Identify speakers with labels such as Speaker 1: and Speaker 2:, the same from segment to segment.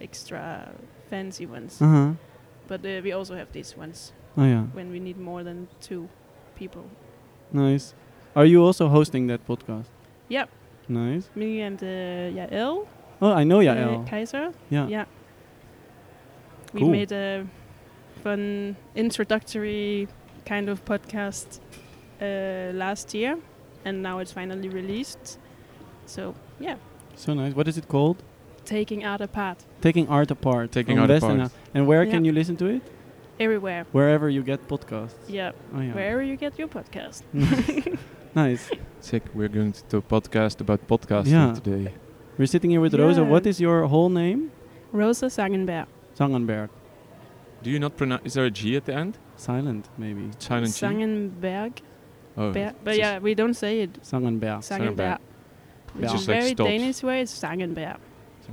Speaker 1: extra fancy ones.
Speaker 2: Uh huh.
Speaker 1: But uh, we also have these ones
Speaker 2: Oh yeah.
Speaker 1: when we need more than two people.
Speaker 2: Nice. Are you also hosting that podcast?
Speaker 1: Yep.
Speaker 2: Nice.
Speaker 1: Me and uh, Yael,
Speaker 2: Oh, I know
Speaker 1: uh,
Speaker 2: Yael.
Speaker 1: Kaiser.
Speaker 2: yeah.
Speaker 1: yeah. We
Speaker 2: Cool.
Speaker 1: made a fun introductory kind of podcast uh, last year, and now it's finally released. So yeah,
Speaker 2: So nice. What is it called?
Speaker 1: taking art apart
Speaker 2: Taking art apart.
Speaker 3: Taking
Speaker 2: from
Speaker 3: Art
Speaker 2: West
Speaker 3: Apart.
Speaker 2: And, and where can
Speaker 1: Yeah.
Speaker 2: you listen to it?
Speaker 1: everywhere.
Speaker 2: Wherever you get podcasts.
Speaker 1: Yeah,
Speaker 2: Oh yeah.
Speaker 1: wherever you get your podcast.
Speaker 2: nice.
Speaker 3: Sick. We're going to do a podcast about podcasting
Speaker 2: Yeah.
Speaker 3: today.
Speaker 2: We're sitting here with Rosa.
Speaker 1: Yeah.
Speaker 2: What is your whole name?
Speaker 1: Rosa Sangenberg.
Speaker 2: Zangenberg.
Speaker 3: Do you not pronounce? Is there a G at the end?
Speaker 2: Silent, maybe.
Speaker 3: Silent G.
Speaker 1: Sangenberg.
Speaker 3: oh,
Speaker 1: Ber-
Speaker 3: it's
Speaker 1: but
Speaker 3: just-
Speaker 1: yeah, we don't say it.
Speaker 2: Zangenberg.
Speaker 1: Sangenberg. Which
Speaker 2: Yeah.
Speaker 1: is
Speaker 3: er Just like
Speaker 1: very
Speaker 3: stops.
Speaker 1: Danish way. It's Sangenberg.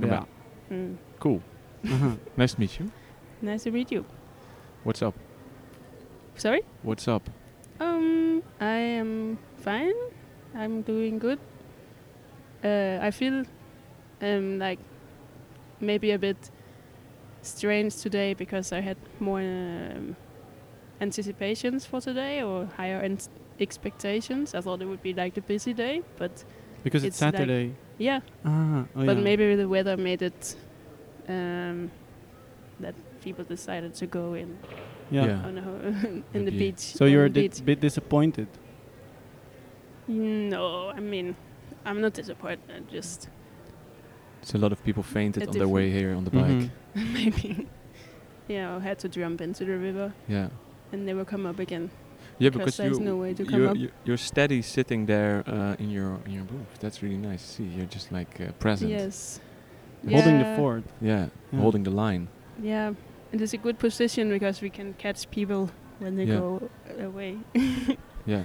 Speaker 2: Yeah.
Speaker 1: Mm.
Speaker 3: Cool.
Speaker 2: Uh-huh.
Speaker 3: Nice to meet you.
Speaker 1: Nice to meet you.
Speaker 3: What's up?
Speaker 1: Sorry.
Speaker 3: What's up?
Speaker 1: Um, I am fine. I'm doing good. Uh, I feel um like maybe a bit strange today because I had more um, anticipations for today or higher ant- expectations. I thought it would be like the busy day, but
Speaker 2: Because it's,
Speaker 1: It's like-
Speaker 2: Saturday.
Speaker 1: yeah.
Speaker 2: ah, oh
Speaker 1: but
Speaker 2: yeah.
Speaker 1: maybe the weather made it um, that people decided to go in
Speaker 2: Yeah.
Speaker 3: Yeah.
Speaker 1: on a ho- in the
Speaker 3: Maybe.
Speaker 1: beach.
Speaker 2: Ah. So
Speaker 1: on
Speaker 2: you're a
Speaker 1: the beach.
Speaker 2: di- bit disappointed.
Speaker 1: No, I mean, I'm not disappointed. I Just
Speaker 3: So a lot of people fainted
Speaker 1: A
Speaker 3: on their way here on the
Speaker 2: Mhm.
Speaker 3: bike.
Speaker 1: maybe, yeah, I had to jump into the river
Speaker 3: Yeah.
Speaker 1: and never come up again.
Speaker 3: Yeah,
Speaker 1: 'Cause
Speaker 3: because
Speaker 1: there's
Speaker 3: you
Speaker 1: no way to come
Speaker 3: you're,
Speaker 1: up.
Speaker 3: you- you're steady sitting there uh, in your in your booth. That's really nice to see. You're just like uh, present.
Speaker 1: Yes.
Speaker 2: Holding the
Speaker 1: Yeah,
Speaker 2: fort.
Speaker 3: Yeah,
Speaker 2: Yeah.
Speaker 3: holding the line.
Speaker 1: Yeah, and it's a good position because we can catch people when they
Speaker 3: Yeah.
Speaker 1: go away.
Speaker 3: Yeah.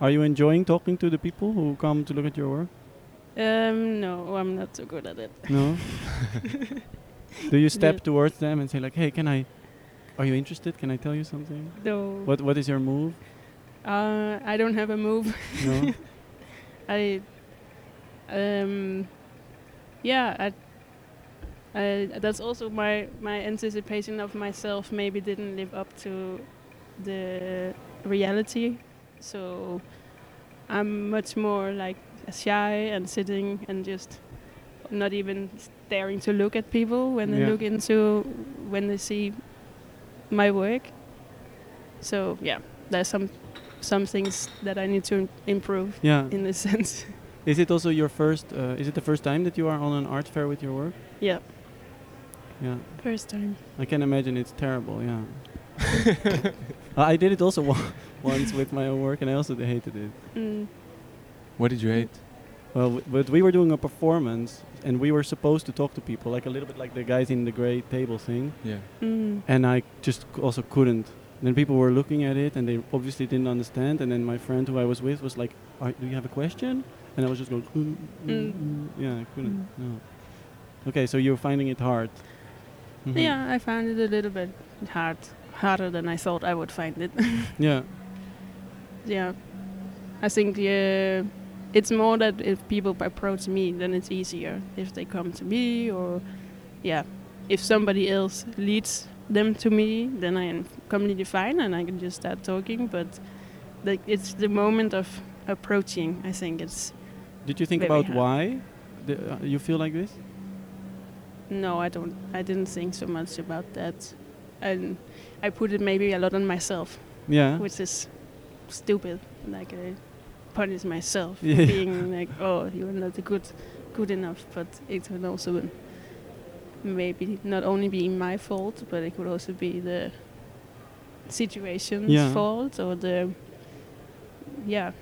Speaker 2: Are you enjoying talking to the people who come to look at your work?
Speaker 1: Um, no, I'm not so good at it.
Speaker 2: No. Do you step towards them and say like, "Hey, can I? Are you interested? Can I tell you something?
Speaker 1: No.
Speaker 2: What What is your move?
Speaker 1: Uh, I don't have a move.
Speaker 2: No.
Speaker 1: I um yeah, I, I that's also my my anticipation of myself maybe didn't live up to the reality. So I'm much more like shy and sitting and just not even daring to look at people when they
Speaker 2: Yeah.
Speaker 1: look into when they see my work. So yeah, there's some some things that I need to im- improve
Speaker 2: yeah.
Speaker 1: in this sense.
Speaker 2: Is it also your first? Uh, is it the first time that you are on an art fair with your work?
Speaker 1: yeah,
Speaker 2: Yeah.
Speaker 1: first time.
Speaker 2: I can imagine it's terrible. Yeah. Uh, I did it also on- once with my own work, and I also hated it.
Speaker 1: Mm.
Speaker 3: What did you hate?
Speaker 2: Well, w- but we were doing a performance, and we were supposed to talk to people, like a little bit like the guys in the gray table thing.
Speaker 3: Yeah.
Speaker 1: Mm.
Speaker 2: and I just c- also couldn't. Then people were looking at it, and they obviously didn't understand. And then my friend who I was with was like, Are, "Do you have a question?" And I was just going, mm, mm,
Speaker 1: Mm.
Speaker 2: mm. "Yeah, I couldn't." No. Okay, so you're finding it hard.
Speaker 3: Mm-hmm.
Speaker 2: Mhm.
Speaker 1: Yeah, I found it a little bit hard, harder than I thought I would find it.
Speaker 2: Yeah.
Speaker 1: yeah, I think uh, it's more that if people approach me, then it's easier if they come to me or yeah, if somebody else leads them to me, then I am completely fine and I can just start talking. But like, it's the moment of approaching. I think it's
Speaker 2: Did you think
Speaker 1: Very
Speaker 2: about
Speaker 1: hard.
Speaker 2: why the, uh, you feel like this?
Speaker 1: No, I don't. I didn't think so much about that, and I put it maybe a lot on myself,
Speaker 2: Yeah.
Speaker 1: which is stupid. Like I punish myself for
Speaker 2: Yeah.
Speaker 1: being like, "Oh, you're not good, good enough." But it can also maybe not only be my fault, but it could also be the situation's
Speaker 2: Yeah.
Speaker 1: fault or the yeah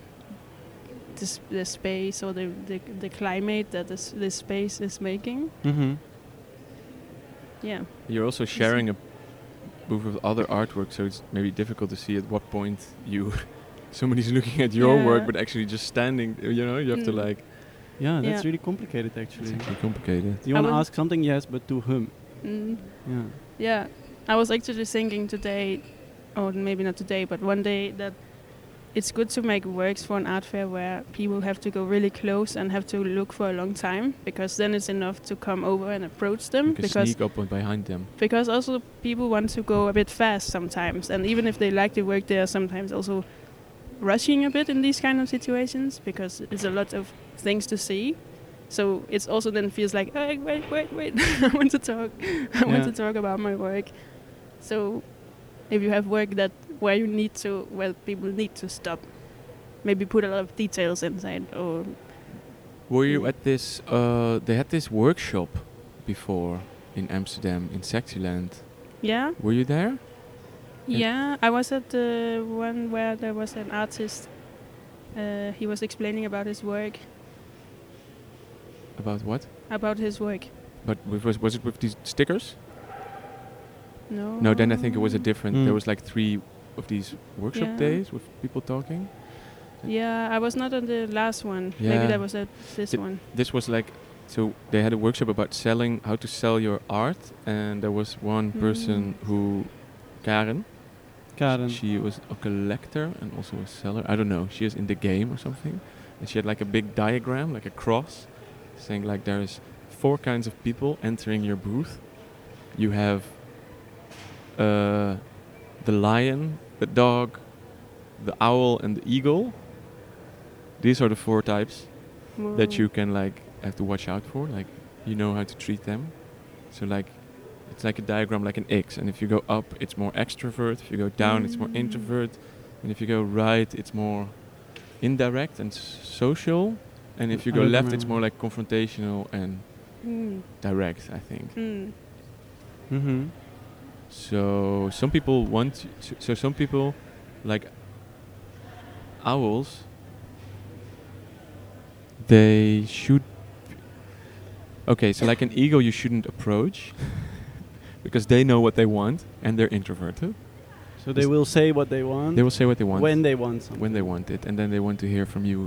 Speaker 1: the, s- the space or the, the the climate that this this space is making.
Speaker 2: Mm-hmm.
Speaker 1: Yeah.
Speaker 3: You're also sharing a booth with other artwork, so it's maybe difficult to see at what point you somebody's looking at your work,
Speaker 1: Yeah.
Speaker 3: but actually just standing. uh, You know, you have to
Speaker 1: Mm.
Speaker 3: like.
Speaker 2: Yeah, that's
Speaker 1: Yeah.
Speaker 2: really complicated, actually.
Speaker 3: It's actually complicated.
Speaker 2: You
Speaker 1: I
Speaker 2: want to
Speaker 1: was-
Speaker 2: ask something, yes, but to whom?
Speaker 1: Mm.
Speaker 2: Yeah.
Speaker 1: Yeah, I was actually thinking today, or maybe not today, but one day that it's good to make works for an art fair where people have to go really close and have to look for a long time because then it's enough to come over and approach them
Speaker 3: You can
Speaker 1: because
Speaker 3: sneak up on behind them.
Speaker 1: because also people want to go a bit fast sometimes and even if they like the work they are sometimes also rushing a bit in these kind of situations because it's a lot of things to see so it's also then feels like "Hey, wait wait wait i want to talk i want
Speaker 2: Yeah.
Speaker 1: to talk about my work so if you have work that where you need to where people need to stop maybe put a lot of details inside or
Speaker 3: Were you
Speaker 1: Mm.
Speaker 3: at this? Uh, they had this workshop before in Amsterdam in Sexyland.
Speaker 1: yeah
Speaker 3: Were you there? And-
Speaker 1: Yeah, I was at the one where there was an artist. Uh, he was explaining about his work,
Speaker 3: About what?
Speaker 1: about his work.
Speaker 3: But with- was was it with these stickers?
Speaker 1: No.
Speaker 3: No, then I think it was a different.
Speaker 2: Mm.
Speaker 3: There was like three of these workshop
Speaker 1: Um, Yeah.
Speaker 3: days with people talking.
Speaker 1: Yeah, I was not on the last one.
Speaker 3: Yeah.
Speaker 1: Maybe that was at this
Speaker 3: Did-
Speaker 1: one.
Speaker 3: This was like, so they had a workshop about selling how to sell your art, and there was one person who, Karen,
Speaker 2: Karen.
Speaker 3: she was a collector and also a seller. I don't know. She is in the game or something, and she had like a big diagram, like a cross, saying like there is four kinds of people entering your booth. You have uh, the lion, the dog, the owl, and the eagle. These are the four types that you can like have to watch out for like you know how to treat them so like it's like a diagram like an x and if you go up it's more extrovert if you go down it's more
Speaker 1: Mm.
Speaker 3: introvert and if you go right it's more indirect and s- social and if you
Speaker 2: I
Speaker 3: go
Speaker 2: don't
Speaker 3: left it's
Speaker 2: remember.
Speaker 3: more like confrontational and
Speaker 1: Mm,
Speaker 3: direct i think
Speaker 1: mm,
Speaker 2: Mm-hmm.
Speaker 3: so some people want to, so some people like owls they should okay so like an eagle you shouldn't approach because they know what they want and they're introverted
Speaker 2: So they will say what they want,
Speaker 3: they will say what they want
Speaker 2: when they want something.
Speaker 3: when they want it and then they want to hear from you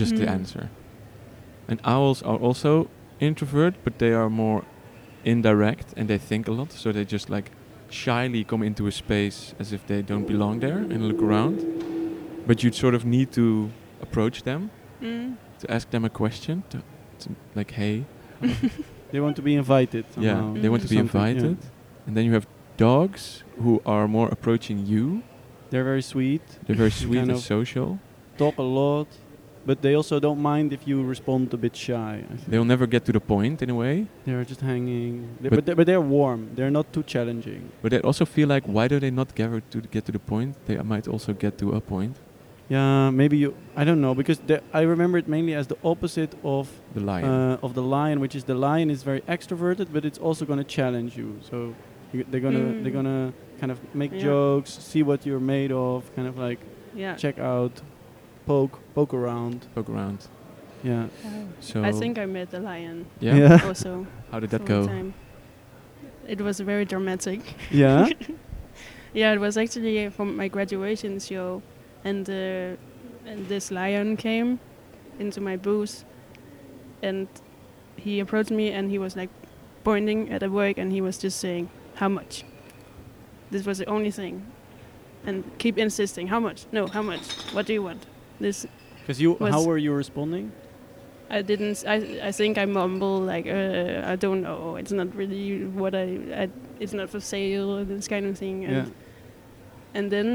Speaker 3: just the
Speaker 1: Mm.
Speaker 3: answer and owls are also introvert but they are more indirect and they think a lot so they just like shyly come into a space as if they don't belong there and look around but you'd sort of need to approach them
Speaker 1: mm.
Speaker 3: to ask them a question to, to like hey
Speaker 2: They want to be invited.
Speaker 3: yeah
Speaker 2: Somehow.
Speaker 3: they want
Speaker 1: Mm.
Speaker 3: to be
Speaker 2: Something, yeah.
Speaker 3: invited and then you have dogs who are more approaching you
Speaker 2: They're very sweet,
Speaker 3: they're very sweet
Speaker 2: Kind
Speaker 3: and
Speaker 2: of-
Speaker 3: social
Speaker 2: talk a lot, but they also don't mind if you respond a bit shy. I think.
Speaker 3: they'll never get to the point in a way
Speaker 2: They're just hanging. They,
Speaker 3: But-
Speaker 2: but, they're, but they're warm. They're not too challenging.
Speaker 3: But I also feel like why do they not gather to get to the point? They might also get to a point.
Speaker 2: Yeah, maybe you. I don't know because the- I remember it mainly as the opposite of
Speaker 3: The lion.
Speaker 2: uh, of the lion, which is the lion is very extroverted, but it's also going to challenge you. So you, they're gonna
Speaker 1: Mm.
Speaker 2: they're gonna kind of make
Speaker 1: Yeah. Uh.
Speaker 2: jokes, see what you're made of, kind of like
Speaker 1: Yeah.
Speaker 2: check out, poke poke around.
Speaker 3: Poke around.
Speaker 2: Yeah,
Speaker 3: So
Speaker 1: I think I met the lion
Speaker 3: yeah.
Speaker 2: yeah.
Speaker 1: also.
Speaker 3: How did that
Speaker 1: one
Speaker 3: go?
Speaker 1: time. It was very dramatic.
Speaker 2: yeah.
Speaker 1: Yeah, it was actually from my graduation show, and uh, and this lion came into my booth, and he approached me and he was like pointing at a work and he was just saying how much. This was the only thing, and keep insisting how much? No, how much? What do you want? This
Speaker 2: Because you,
Speaker 1: Was-
Speaker 2: how were you responding?
Speaker 1: I didn't. s- I I think I mumble like uh, I don't know. It's not really what I. I it's not for sale. This kind of thing. And
Speaker 2: Yeah.
Speaker 1: and then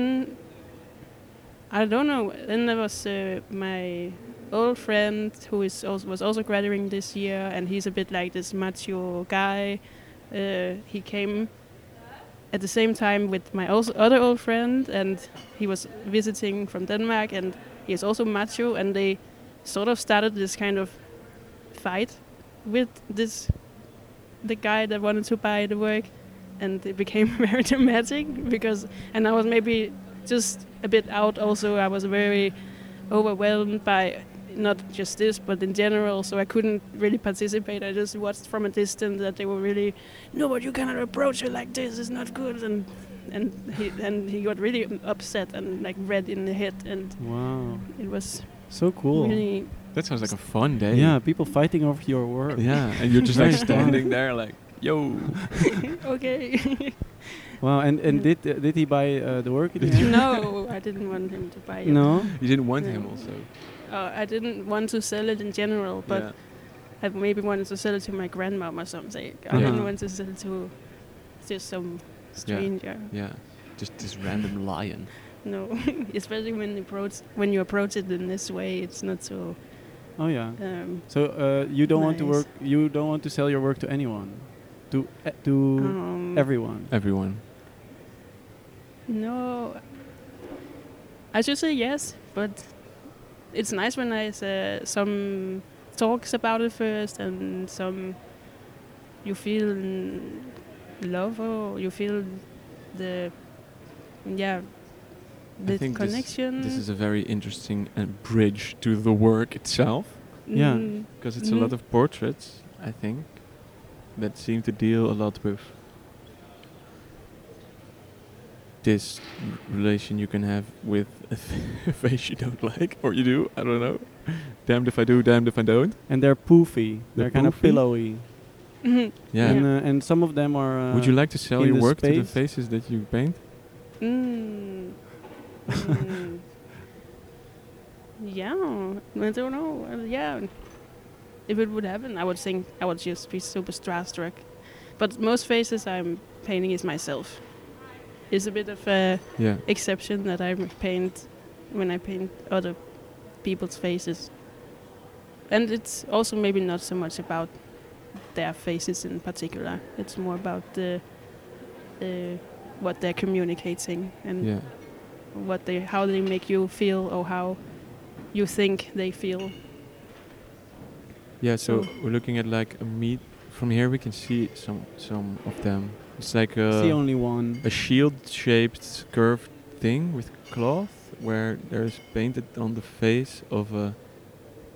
Speaker 1: I don't know. Then there was uh, my old friend who is also, was also graduating this year, and he's a bit like this macho guy. Uh, he came at the same time with my also other old friend, and he was visiting from Denmark, and he is also macho, and they sort of started this kind of fight with this the guy that wanted to buy the work and it became very dramatic because and I was maybe just a bit out also I was very overwhelmed by not just this but in general so I couldn't really participate I just watched from a distance that they were really no but you cannot approach her like this it's not good and and he and he got really upset and like red in the head and
Speaker 2: Wow,
Speaker 1: it was
Speaker 2: so cool.
Speaker 1: really
Speaker 3: That sounds like a fun day.
Speaker 2: Yeah, people fighting over your work.
Speaker 3: Yeah. And you're just like
Speaker 2: Very fun.
Speaker 3: standing there like yo.
Speaker 1: okay.
Speaker 2: Wow. And and
Speaker 1: Yeah.
Speaker 2: did uh, did he buy uh, the work? in
Speaker 3: Did
Speaker 2: the end?
Speaker 1: no, I didn't want him to buy it.
Speaker 2: No.
Speaker 3: You didn't want
Speaker 1: Yeah.
Speaker 3: him also.
Speaker 1: Uh, I didn't want to sell it in general, but
Speaker 3: yeah.
Speaker 1: I maybe wanted to sell it to my grandmom or something. I
Speaker 3: Yeah.
Speaker 1: didn't
Speaker 2: Uh-huh.
Speaker 1: want to sell it to just some stranger.
Speaker 3: yeah. Just this random lion.
Speaker 1: No, especially when you approach when you approach it in this way, it's not so.
Speaker 2: Oh yeah.
Speaker 1: Um,
Speaker 2: So uh, you don't want to
Speaker 1: Nice.
Speaker 2: work. You don't want to sell your work to anyone, to e- to
Speaker 1: um,
Speaker 2: everyone.
Speaker 3: Uh, Everyone.
Speaker 1: No, I should say yes, but it's nice when I uh, some talks about it first and some you feel in love or you feel the yeah the
Speaker 3: I think this-
Speaker 1: connection.
Speaker 3: This, is a very interesting uh, bridge to the work itself
Speaker 2: Yeah.
Speaker 1: Mm,
Speaker 3: because it's
Speaker 2: Mm-hmm.
Speaker 1: Mhm.
Speaker 3: a lot of portraits, I think, that seem to deal a lot with this r- relation you can have with a face you don't like or you do, I don't know. damned if I do, damned if I don't.
Speaker 2: And they're poofy.
Speaker 3: They're
Speaker 2: They're kind of
Speaker 3: poofy?
Speaker 2: pillowy.
Speaker 1: Mhm.
Speaker 3: Yeah.
Speaker 2: And uh, and some of them are. Uh,
Speaker 3: Would you like to sell
Speaker 2: in
Speaker 3: your
Speaker 2: the
Speaker 3: work to the
Speaker 2: space?
Speaker 3: faces that you paint?
Speaker 1: Mm. Mm. yeah, I don't know. Uh, yeah, if it would happen, I would think I would just be super starstruck. But most faces I'm painting is myself. It's a bit of a
Speaker 3: Yeah.
Speaker 1: exception that I paint when I paint other people's faces, and it's also maybe not so much about their faces in particular. It's more about the uh, what they're communicating
Speaker 2: Mm.
Speaker 1: and
Speaker 3: Yeah.
Speaker 1: what they how they make you feel or how you think they feel.
Speaker 3: Yeah,
Speaker 2: Mm.
Speaker 3: so
Speaker 1: So-
Speaker 3: we're looking at like a meat. From here, we can see some some of them. It's like uh,
Speaker 2: see
Speaker 3: a,
Speaker 2: only one.
Speaker 3: a shield-shaped curved thing with cloth, where there's painted on the face of a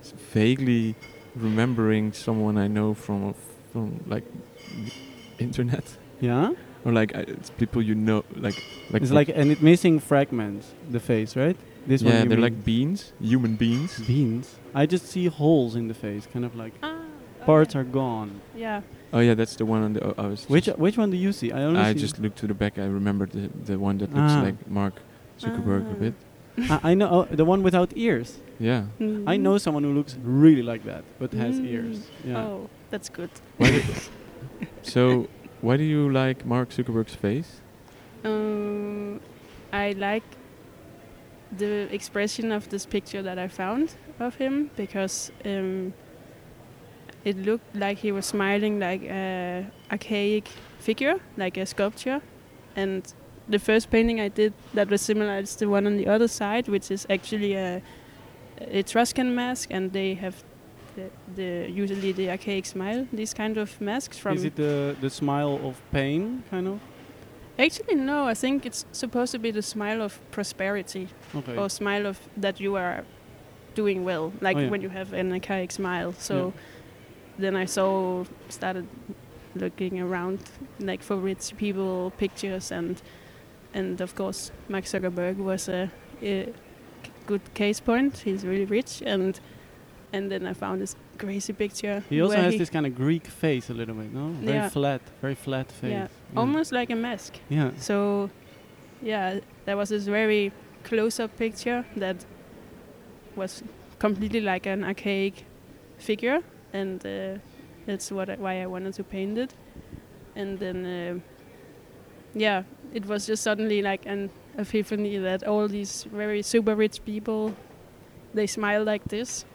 Speaker 3: s- vaguely remembering someone I know from a f- from like the internet
Speaker 2: Yeah.
Speaker 3: or like I, it's people you know like like
Speaker 2: it's
Speaker 3: from-
Speaker 2: like and it missing fragments. The face, right? This one. you
Speaker 3: yeah they're
Speaker 2: mean. Hmm.
Speaker 3: like beans, human beans.
Speaker 2: beans. I just see holes in the face, kind of like
Speaker 1: Ah,
Speaker 2: parts are gone.
Speaker 1: yeah.
Speaker 3: Oh yeah, that's the one on the I was
Speaker 2: Which
Speaker 3: just-
Speaker 2: which one do you see? I only
Speaker 3: I
Speaker 2: see
Speaker 3: just looked to the back. I remembered the, the one that looks
Speaker 2: Ah.
Speaker 3: like Mark Zuckerberg a
Speaker 1: Ah.
Speaker 3: bit.
Speaker 2: I, I know oh, the one without ears.
Speaker 3: Yeah.
Speaker 1: Mm-hmm.
Speaker 2: I know someone who looks really like that, but has ears. Yeah.
Speaker 1: Oh, that's good.
Speaker 3: Why do- so, why do you like Mark Zuckerberg's face?
Speaker 1: Um, I like the expression of this picture that I found of him because um, it looked like he was smiling like a archaic figure, like a sculpture. And the first painting I did that was similar is the one on the other side, which is actually a Etruscan mask, and they have the, the usually the archaic smile. These kind of masks from
Speaker 2: Is it the the smile of pain, kind of?
Speaker 1: Actually, no. I think it's supposed to be the smile of prosperity
Speaker 2: Okay.
Speaker 1: or smile of that you are doing well, like
Speaker 2: Oh, yeah.
Speaker 1: when you have an archaic smile. So then I saw started looking around like for rich people pictures and and of course Mark Zuckerberg was a, a c- good case point. He's really rich and and then I found this crazy picture.
Speaker 2: he also
Speaker 1: Oh, where
Speaker 2: has this kind of Greek face a little bit, no? Very
Speaker 1: Yeah.
Speaker 2: flat, very flat face.
Speaker 1: Yeah. almost like a mask.
Speaker 2: Yeah.
Speaker 1: So, yeah, there was this very close-up picture that was completely like an archaic figure, and uh, that's what I, why I wanted to paint it. And then, uh, yeah, it was just suddenly like an epiphany that all these very super rich people, they smile like this,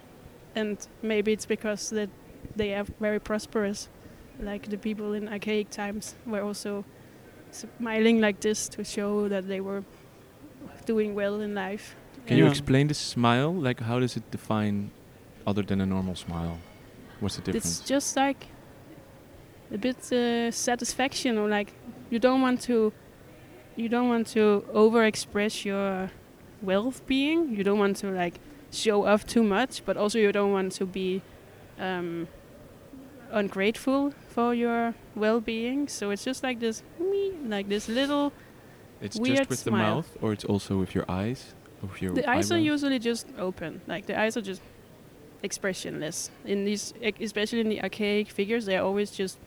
Speaker 1: and maybe it's because that they are very prosperous, like the people in archaic times were also smiling like this to show that they were doing well in life.
Speaker 3: Can
Speaker 1: And
Speaker 3: you
Speaker 2: Yeah.
Speaker 3: explain this smile? Like, how does it define other than a normal smile? What's the difference?
Speaker 1: It's just like a bit uh, satisfaction, or like you don't want to, you don't want to overexpress your well-being. You don't want to like show off too much, but also you don't want to be um, ungrateful for your well-being. So it's just like this, wee, like this little
Speaker 3: It's
Speaker 1: weird
Speaker 3: just with the
Speaker 1: smile.
Speaker 3: mouth, or it's also with your eyes, or with your
Speaker 1: The eyes are
Speaker 3: eyebrows?
Speaker 1: usually just open. Like the eyes are just e, expressionless. In these, ec- especially in the archaic figures, they're always just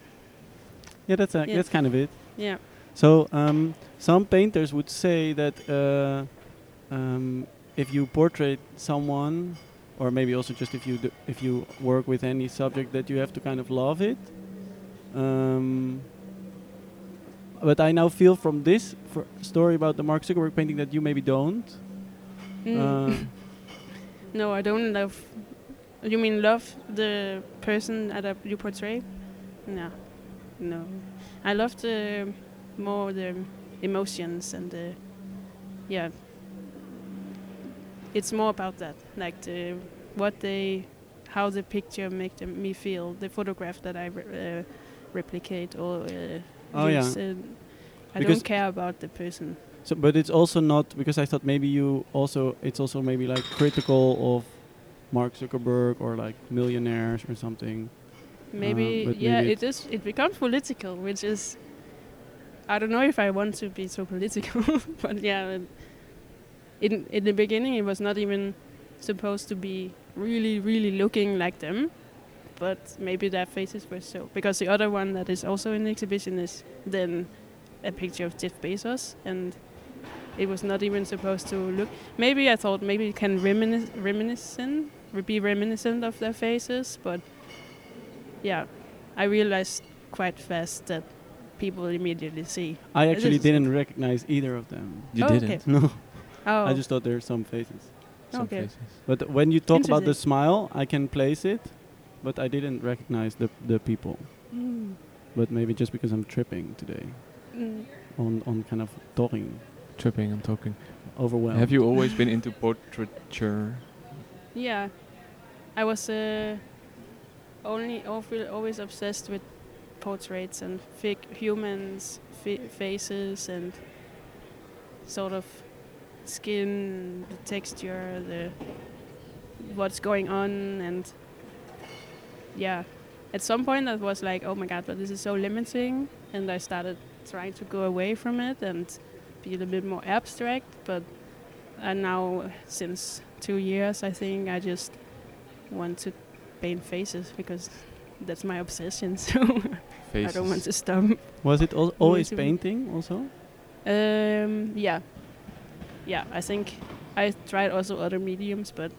Speaker 2: Yeah, that's uh,
Speaker 1: Yeah.
Speaker 2: that's kind of it.
Speaker 1: Yeah.
Speaker 2: So um, some painters would say that uh, um, if you portrait someone, or maybe also just if you d- if you work with any subject, that you have to kind of love it. Um, but I now feel from this fr- story about the Mark Zuckerberg painting that you maybe don't.
Speaker 1: Mm.
Speaker 2: Uh,
Speaker 1: no, I don't love. You mean love the person that I- you portray? No, no. I love the more the emotions and the yeah. It's more about that, like the what they, how the picture make them, me feel, the photograph that I re- uh, replicate or uh,
Speaker 2: Oh, yeah.
Speaker 1: use. uh, I
Speaker 2: Because-
Speaker 1: don't care about the person.
Speaker 2: So, but it's also not because I thought maybe you also it's also maybe like critical of Mark Zuckerberg or like millionaires or something.
Speaker 1: Uh, Maybe
Speaker 2: but
Speaker 1: yeah,
Speaker 2: maybe
Speaker 1: it is. It becomes political, which is. I don't know if I want to be so political, but yeah, it- in in the beginning it was not even supposed to be really really looking like them, but maybe their faces were so. Because the other one that is also in the exhibition is then a picture of Jeff Bezos, and it was not even supposed to look. Maybe I thought maybe it can reminisce, reminiscent, be reminiscent of their faces, but yeah, I realized quite fast that people immediately see.
Speaker 2: I
Speaker 1: It
Speaker 2: actually
Speaker 1: is.
Speaker 2: didn't recognize either of them.
Speaker 3: You
Speaker 1: Oh, okay.
Speaker 3: didn't.
Speaker 2: No,
Speaker 1: Oh,
Speaker 2: I just thought there are some faces.
Speaker 3: Some
Speaker 1: Okay.
Speaker 3: faces.
Speaker 2: But when you talk about the
Speaker 1: Interesting.
Speaker 2: smile, I can place it, but I didn't recognize the the people.
Speaker 1: Mm,
Speaker 2: But maybe just because I'm tripping today
Speaker 1: mm.
Speaker 2: on on kind of talking,
Speaker 3: Tripping and talking.
Speaker 2: overwhelmed.
Speaker 3: Have you always been into portraiture?
Speaker 1: yeah, I was uh, only always, always obsessed with portraits and fig- humans, fi- faces, and sort of skin, the texture, the what's going on, and yeah. At some point, I was like, "Oh my god, but this is so limiting," and I started trying to go away from it and be a little bit more abstract. But and now, since two years, I think I just want to paint faces because that's my obsession. So I
Speaker 3: Faces.
Speaker 1: don't want to stop.
Speaker 2: Was it al- always
Speaker 1: to-
Speaker 2: painting also?
Speaker 1: Um, yeah, yeah. I think I tried also other mediums, but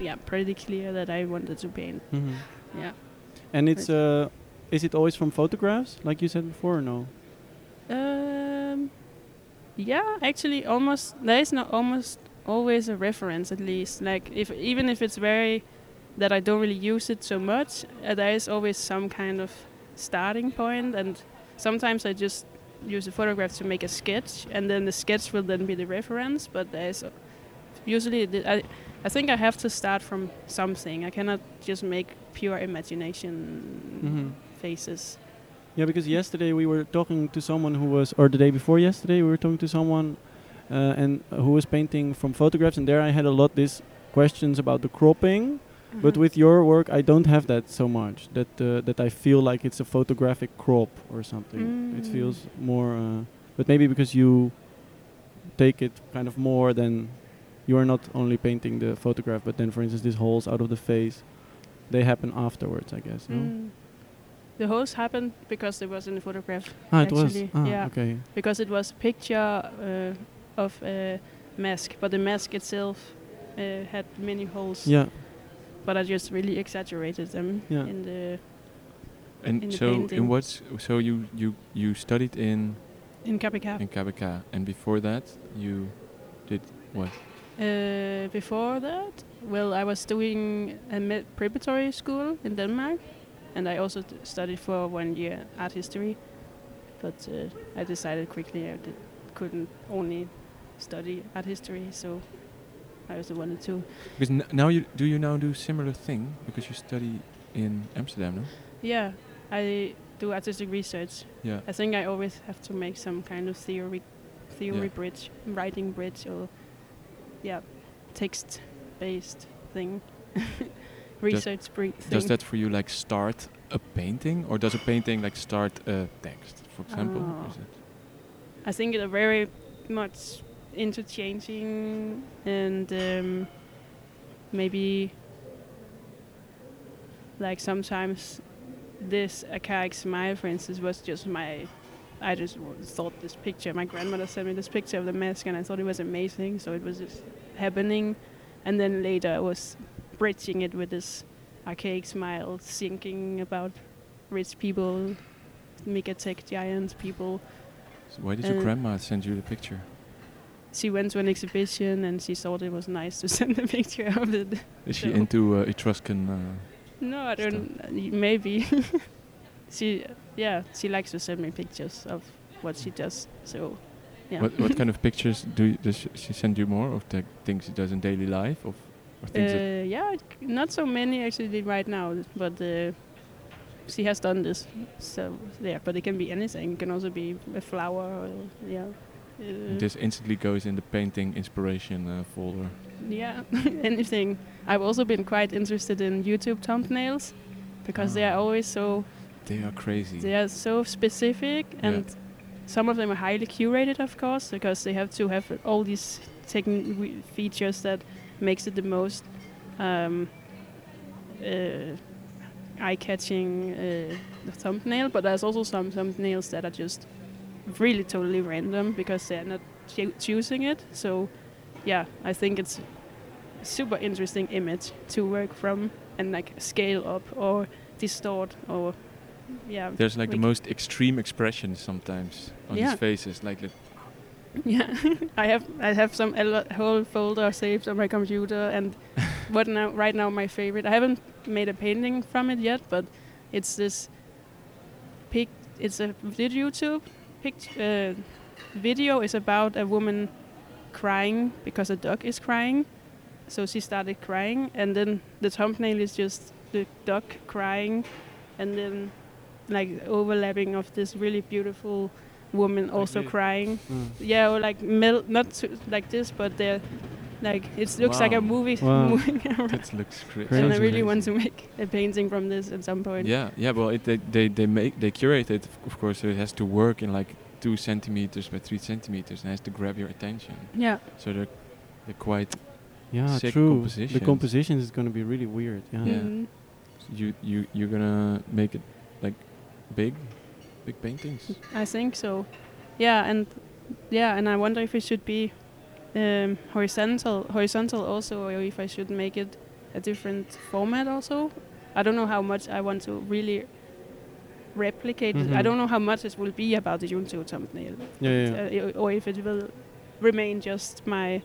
Speaker 1: yeah, pretty clear that I wanted to paint.
Speaker 2: Mm-hmm.
Speaker 1: Yeah.
Speaker 2: And it's uh, is it always from photographs, like you said before, or no?
Speaker 1: Um, yeah, actually, almost there is not almost always a reference at least. Like if even if it's very that I don't really use it so much, uh, there is always some kind of starting point, and sometimes I just use a photograph to make a sketch, and then the sketch will then be the reference. But there is usually the, I I think I have to start from something. I cannot just make pure imagination
Speaker 2: Mm-hmm.
Speaker 1: faces.
Speaker 2: Yeah, because yesterday we were talking to someone who was, or the day before yesterday, we were talking to someone uh, and who was painting from photographs, and there I had a lot these questions about the cropping.
Speaker 1: Mm-hmm.
Speaker 2: But with your work, I don't have that so much. That uh, that I feel like it's a photographic crop or something. It
Speaker 1: Mm.
Speaker 2: feels more, uh, but maybe because you take it kind of more than you are not only painting the photograph, but then, for instance, these holes out of the face, they happen afterwards, I guess. No?
Speaker 1: Mm. The holes happened because it was in the photograph,
Speaker 2: Ah, it was.
Speaker 1: Actually,
Speaker 2: Ah,
Speaker 1: yeah.
Speaker 2: Okay.
Speaker 1: because it was a picture uh, of a mask, but the mask itself uh, had many holes.
Speaker 2: Yeah.
Speaker 1: But I just really exaggerated them
Speaker 2: Yeah.
Speaker 1: in the
Speaker 3: And
Speaker 1: in the
Speaker 3: so, in
Speaker 1: painting.
Speaker 3: what's so you you you studied in
Speaker 1: in Caprica.
Speaker 3: in Kabaka, and before that you did what?
Speaker 1: Uh, before that, well, I was doing a med- preparatory school in Denmark, and I also t- studied for one year art history. But uh, I decided quickly I did, couldn't only study art history, so I also wanted to.
Speaker 3: Because n- now you do you now do similar thing because you study in Amsterdam, no?
Speaker 1: Yeah, I do artistic research.
Speaker 3: Yeah.
Speaker 1: I think I always have to make some kind of theory, theory
Speaker 3: Yeah.
Speaker 1: bridge, writing bridge, or yeah, text-based thing, research bri- thing.
Speaker 3: Does that for you like start a painting, or does a painting like start a text, for example?
Speaker 1: Oh.
Speaker 3: Is it-
Speaker 1: I think it's very much interchanging and um, maybe like sometimes this archaic smile, for instance, was just my. I just w- thought this picture. My grandmother sent me this picture of the mask, and I thought it was amazing. So it was just happening, and then later I was bridging it with this archaic smile, thinking about rich people, mega tech giants, people.
Speaker 3: So why did your
Speaker 1: Uh,
Speaker 3: grandma send you the picture?
Speaker 1: She went to an exhibition, and she thought it was nice to send a picture of it.
Speaker 3: Is she
Speaker 1: so-
Speaker 3: into uh, Etruscan? Uh,
Speaker 1: No, I
Speaker 3: Stuff.
Speaker 1: don't. uh, Maybe. she, yeah, she likes to send me pictures of what she does. So, yeah.
Speaker 3: What what kind of pictures do you, does sh- she send you more of the things she does in daily life of or things that
Speaker 1: Uh, yeah, it c- not so many actually right now, but uh, she has done this. So yeah, but it can be anything. It can also be a flower. Or, yeah. Uh,
Speaker 3: this instantly goes in the painting inspiration uh, folder?
Speaker 1: Yeah, anything. I've also been quite interested in YouTube thumbnails because they are
Speaker 3: Ah.
Speaker 1: always so
Speaker 3: They are crazy.
Speaker 1: They are so specific,
Speaker 3: Yeah.
Speaker 1: and some of them are highly curated, of course, because they have to have all these techni- features that makes it the most um, uh, eye-catching uh, thumbnail. But there's also some thumbnails that are just really totally random because they're not choo- choosing it. So, yeah, I think it's a super interesting image to work from and like scale up or distort or yeah
Speaker 3: There's like the
Speaker 1: Like-
Speaker 3: most extreme expressions sometimes on
Speaker 1: Yeah.
Speaker 3: these faces, like the
Speaker 1: Yeah, I have I have some a lo- whole folder saved on my computer, and what now? Right now, my favorite. I haven't made a painting from it yet, but it's this pic. It's a vid- YouTube pic- uh, video. is about a woman crying because a dog is crying. So she started crying, and then the thumbnail is just the dog crying, and then like overlapping of this really beautiful woman also
Speaker 3: this.
Speaker 1: crying
Speaker 2: Mm.
Speaker 1: yeah, or like mel- not so, like this, but they're like it looks like
Speaker 3: Wow.
Speaker 1: a movie
Speaker 2: Wow.
Speaker 1: moving around.
Speaker 3: that looks cra-
Speaker 2: Crazy.
Speaker 1: And I
Speaker 3: sounds
Speaker 1: really
Speaker 3: crazy.
Speaker 1: want to make a painting from this at some point.
Speaker 3: Yeah, yeah. Well, it, they, they they make they curate it, of- of course. So it has to work in like two centimeters by three centimeters, and has to grab your attention.
Speaker 1: Yeah,
Speaker 3: So they're they're quite
Speaker 2: Yeah,
Speaker 3: Sick
Speaker 2: true.
Speaker 3: compositions.
Speaker 2: The composition is going to be really weird. Yeah.
Speaker 3: Yeah.
Speaker 1: Mhm.
Speaker 3: you you you're gonna make it like big, big paintings.
Speaker 1: I think so. Yeah, and yeah, and I wonder if it should be um, horizontal, horizontal also, or if I should make it a different format also. I don't know how much I want to really replicate. it. I
Speaker 3: Mm-hmm.
Speaker 2: Mhm.
Speaker 1: don't know how much it will be about the YouTube thumbnail.
Speaker 2: Yeah, yeah, yeah.
Speaker 1: uh, i- or if it will remain just my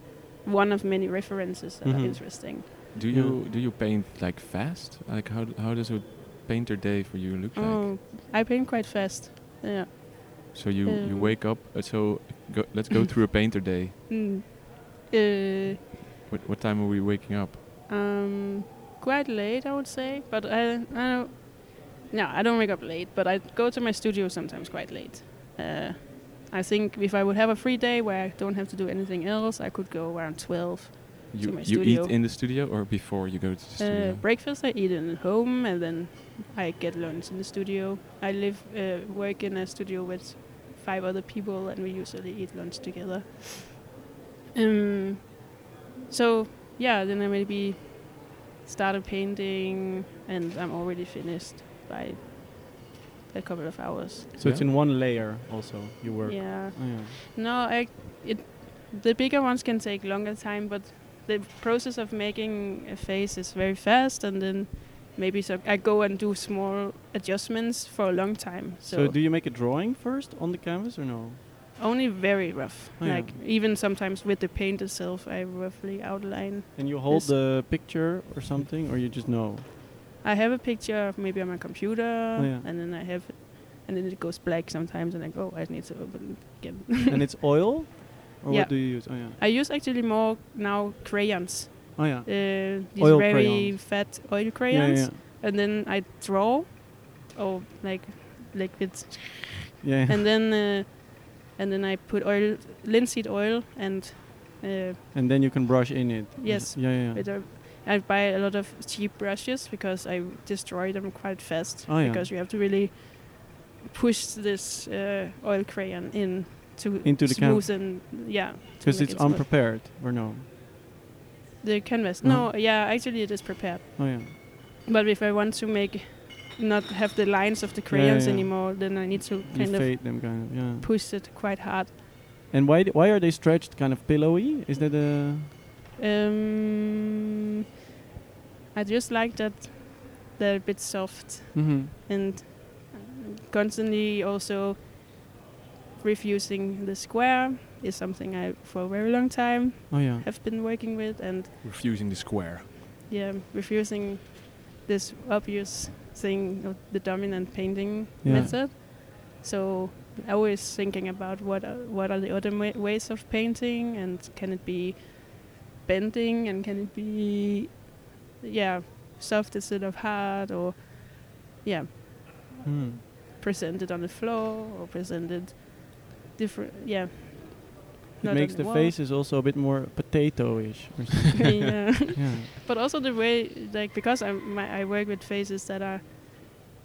Speaker 1: one of many references that are
Speaker 2: Mhm.
Speaker 1: interesting.
Speaker 3: Do
Speaker 2: Yeah.
Speaker 3: you do you paint like fast? Like how d- how does a painter day for you look like?
Speaker 1: Oh, I paint quite fast. Yeah.
Speaker 3: So you you
Speaker 1: um,
Speaker 3: wake up. Uh, so go, let's go through a painter day.
Speaker 1: Mm. Uh,
Speaker 3: What what time are we waking up?
Speaker 1: um, quite late, I would say, but I, I don't. No, I don't wake up late, but I go to my studio sometimes quite late. Uh, I think if I would have a free day where I don't have to do anything else, I could go around 12.
Speaker 3: You
Speaker 1: my
Speaker 3: you
Speaker 1: studio.
Speaker 3: eat in the studio or before you go to the
Speaker 1: Uh,
Speaker 3: studio?
Speaker 1: breakfast I eat in home, and then I get lunch in the studio. I live uh, work in a studio with five other people, and we usually eat lunch together. Um, so yeah, then I maybe started painting, and I'm already finished by a couple of hours.
Speaker 2: So it's
Speaker 3: Yeah.
Speaker 2: in one layer also you work.
Speaker 1: Yeah.
Speaker 2: Oh, yeah.
Speaker 1: No, I, it, the bigger ones can take longer time, but the process of making a face is very fast, and then maybe so I go and do small adjustments for a long time. So,
Speaker 2: So do you make a drawing first on the canvas or no?
Speaker 1: only very rough.
Speaker 2: Oh, yeah.
Speaker 1: like even sometimes with the paint itself, I roughly outline.
Speaker 2: And you hold
Speaker 1: Yes.
Speaker 2: the picture or something or you just know?
Speaker 1: I have a picture of maybe on my computer,
Speaker 2: Oh, yeah.
Speaker 1: and then I have, and then it goes black sometimes, and I go, "Oh, I need to open again.
Speaker 2: and it's oil? Or
Speaker 1: Yeah.
Speaker 2: what do you use? Oh yeah.
Speaker 1: I use actually more now crayons,
Speaker 2: Oh yeah.
Speaker 1: uh, these
Speaker 2: Oil
Speaker 1: very
Speaker 2: crayons.
Speaker 1: fat oil
Speaker 2: Yeah,
Speaker 1: crayons.
Speaker 2: yeah.
Speaker 1: and then I draw, or like like it's,
Speaker 2: yeah. yeah.
Speaker 1: and then uh, and then I put oil, linseed oil, and uh,
Speaker 2: And then you can brush in it.
Speaker 1: Yes.
Speaker 2: Yeah, yeah. yeah.
Speaker 1: with a- I buy a lot of cheap brushes because I destroy them quite fast
Speaker 2: Oh, yeah.
Speaker 1: because you have to really push this uh, oil crayon in to
Speaker 2: Into the can-
Speaker 1: smoothen, yeah, to
Speaker 2: Because
Speaker 1: make
Speaker 2: it's
Speaker 1: it smooth.
Speaker 2: unprepared or no?
Speaker 1: the canvas.
Speaker 2: Uh-huh.
Speaker 1: No, yeah, actually it is prepared.
Speaker 2: Oh yeah.
Speaker 1: But if I want to make not have the lines of the crayons
Speaker 2: yeah.
Speaker 1: anymore, then I need to
Speaker 2: You
Speaker 1: kind of
Speaker 2: fade them kind of, yeah.
Speaker 1: push it quite hard.
Speaker 2: And why d- why are they stretched kind of pillowy? Is that a
Speaker 1: Um, I just like that they're a bit soft
Speaker 2: mm-hmm.
Speaker 1: and um, constantly also refusing the square is something I for a very long time
Speaker 2: Oh yeah.
Speaker 1: have been working with and
Speaker 3: Refusing the square.
Speaker 1: yeah refusing this obvious thing of the dominant painting
Speaker 2: Yeah.
Speaker 1: method so I always thinking about what are, what are the other ma- ways of painting and can it be bending and can it be yeah soft instead of hard or yeah
Speaker 2: Mm.
Speaker 1: presented on the floor or presented different yeah
Speaker 2: It
Speaker 1: Not
Speaker 2: makes
Speaker 1: on the
Speaker 2: the
Speaker 1: wall.
Speaker 2: faces also a bit more potato-ish. or something.
Speaker 1: yeah
Speaker 2: yeah.
Speaker 1: but also the way like because I my, I work with faces that are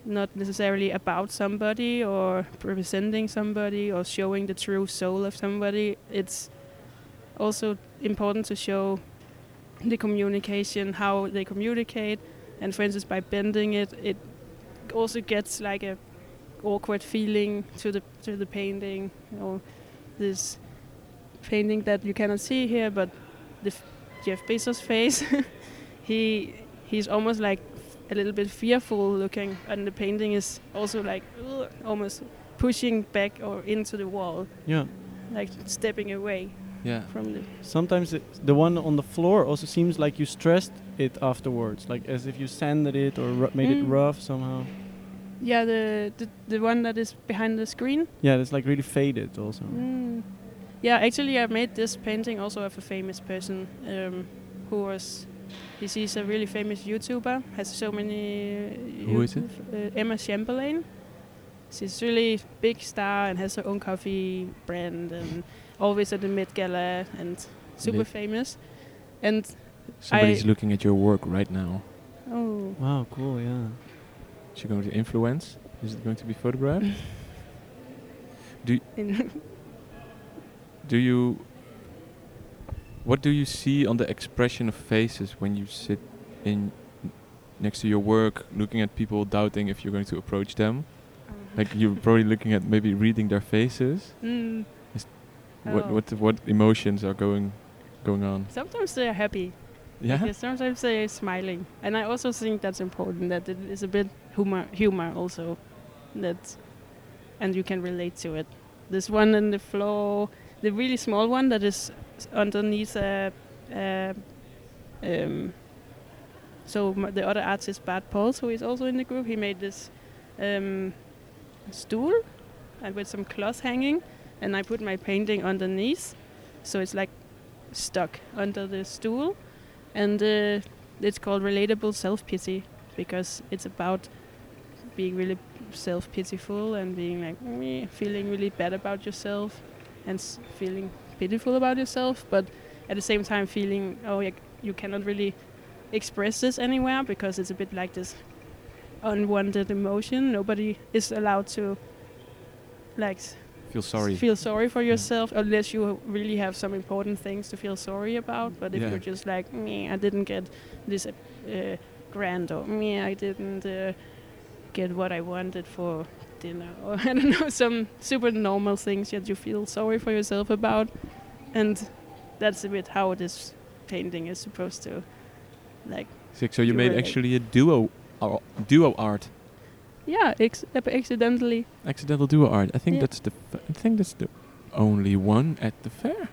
Speaker 1: not necessarily about somebody or representing somebody or showing the true soul of somebody. It's also important to show the communication, how they communicate, and for instance, by bending it, it also gets like a awkward feeling to the to the painting or this painting that you cannot see here, but the f- Jeff Bezos face he he's almost like a little bit fearful looking and the painting is also like ugh, almost pushing back or into the wall
Speaker 2: Yeah.
Speaker 1: like stepping away
Speaker 3: Yeah.
Speaker 1: from the
Speaker 2: Sometimes it, the one on the floor also seems like you stressed it afterwards, like as if you sanded it or ru- made it
Speaker 1: Mm.
Speaker 2: rough somehow.
Speaker 1: yeah the the, the one that is behind the screen
Speaker 2: Yeah, it's like really faded also.
Speaker 1: Mm. Yeah, actually, I made this painting also of a famous person um, who was. He's, he's a really famous YouTuber. Has so many. Uh,
Speaker 3: Who is it?
Speaker 1: Uh, Emma Chamberlain. She's really big star and has her own coffee brand and always at the Met Gala and super
Speaker 3: Lit.
Speaker 1: famous. And
Speaker 3: Somebody's looking at your work right now.
Speaker 1: oh,
Speaker 2: Wow, cool, yeah.
Speaker 3: Is she going to influence? Is it going to be photographed?
Speaker 1: Mm-hmm. in
Speaker 3: do you. What do you see on the expression of faces when you sit in next to your work, looking at people, doubting if you're going to approach them? Like you're probably looking at maybe reading their faces.
Speaker 1: Mm.
Speaker 3: What
Speaker 1: Oh.
Speaker 3: what what emotions are going going on?
Speaker 1: Sometimes they're happy.
Speaker 3: Yeah.
Speaker 1: Yeah, sometimes they're smiling, and I also think that's important. That it is a bit humor, humor also, that, and you can relate to it. This one on the floor, the really small one that is s- underneath a, a um, so m- the other artist Bart Pauls, who is also in the group, he made this um, stool, and with some cloth hanging, and I put my painting underneath, so it's like stuck under the stool and uh, it's called relatable self pity because it's about being really self pityful and being like "Meh," feeling really bad about yourself and s- feeling pitiful about yourself, but at the same time feeling oh yeah, you cannot really express this anywhere because it's a bit like this unwanted emotion. Nobody is allowed to like s-
Speaker 3: Feel sorry.
Speaker 1: feel sorry for yourself unless you really have some important things to feel sorry about. But if
Speaker 3: Yeah.
Speaker 1: you're just like, me, I didn't get this uh, uh, grand, or me, I didn't uh, get what I wanted for dinner, or I don't know, some super normal things that you feel sorry for yourself about, and that's a bit how this painting is supposed to, like,
Speaker 3: Sick. So you,
Speaker 1: You
Speaker 3: made
Speaker 1: relate.
Speaker 3: actually a duo, ar- duo art,
Speaker 1: yeah, ex- ap- accidentally.
Speaker 3: accidental duo art. I think
Speaker 1: Yeah.
Speaker 3: that's the. F- I think that's the only one at the fair.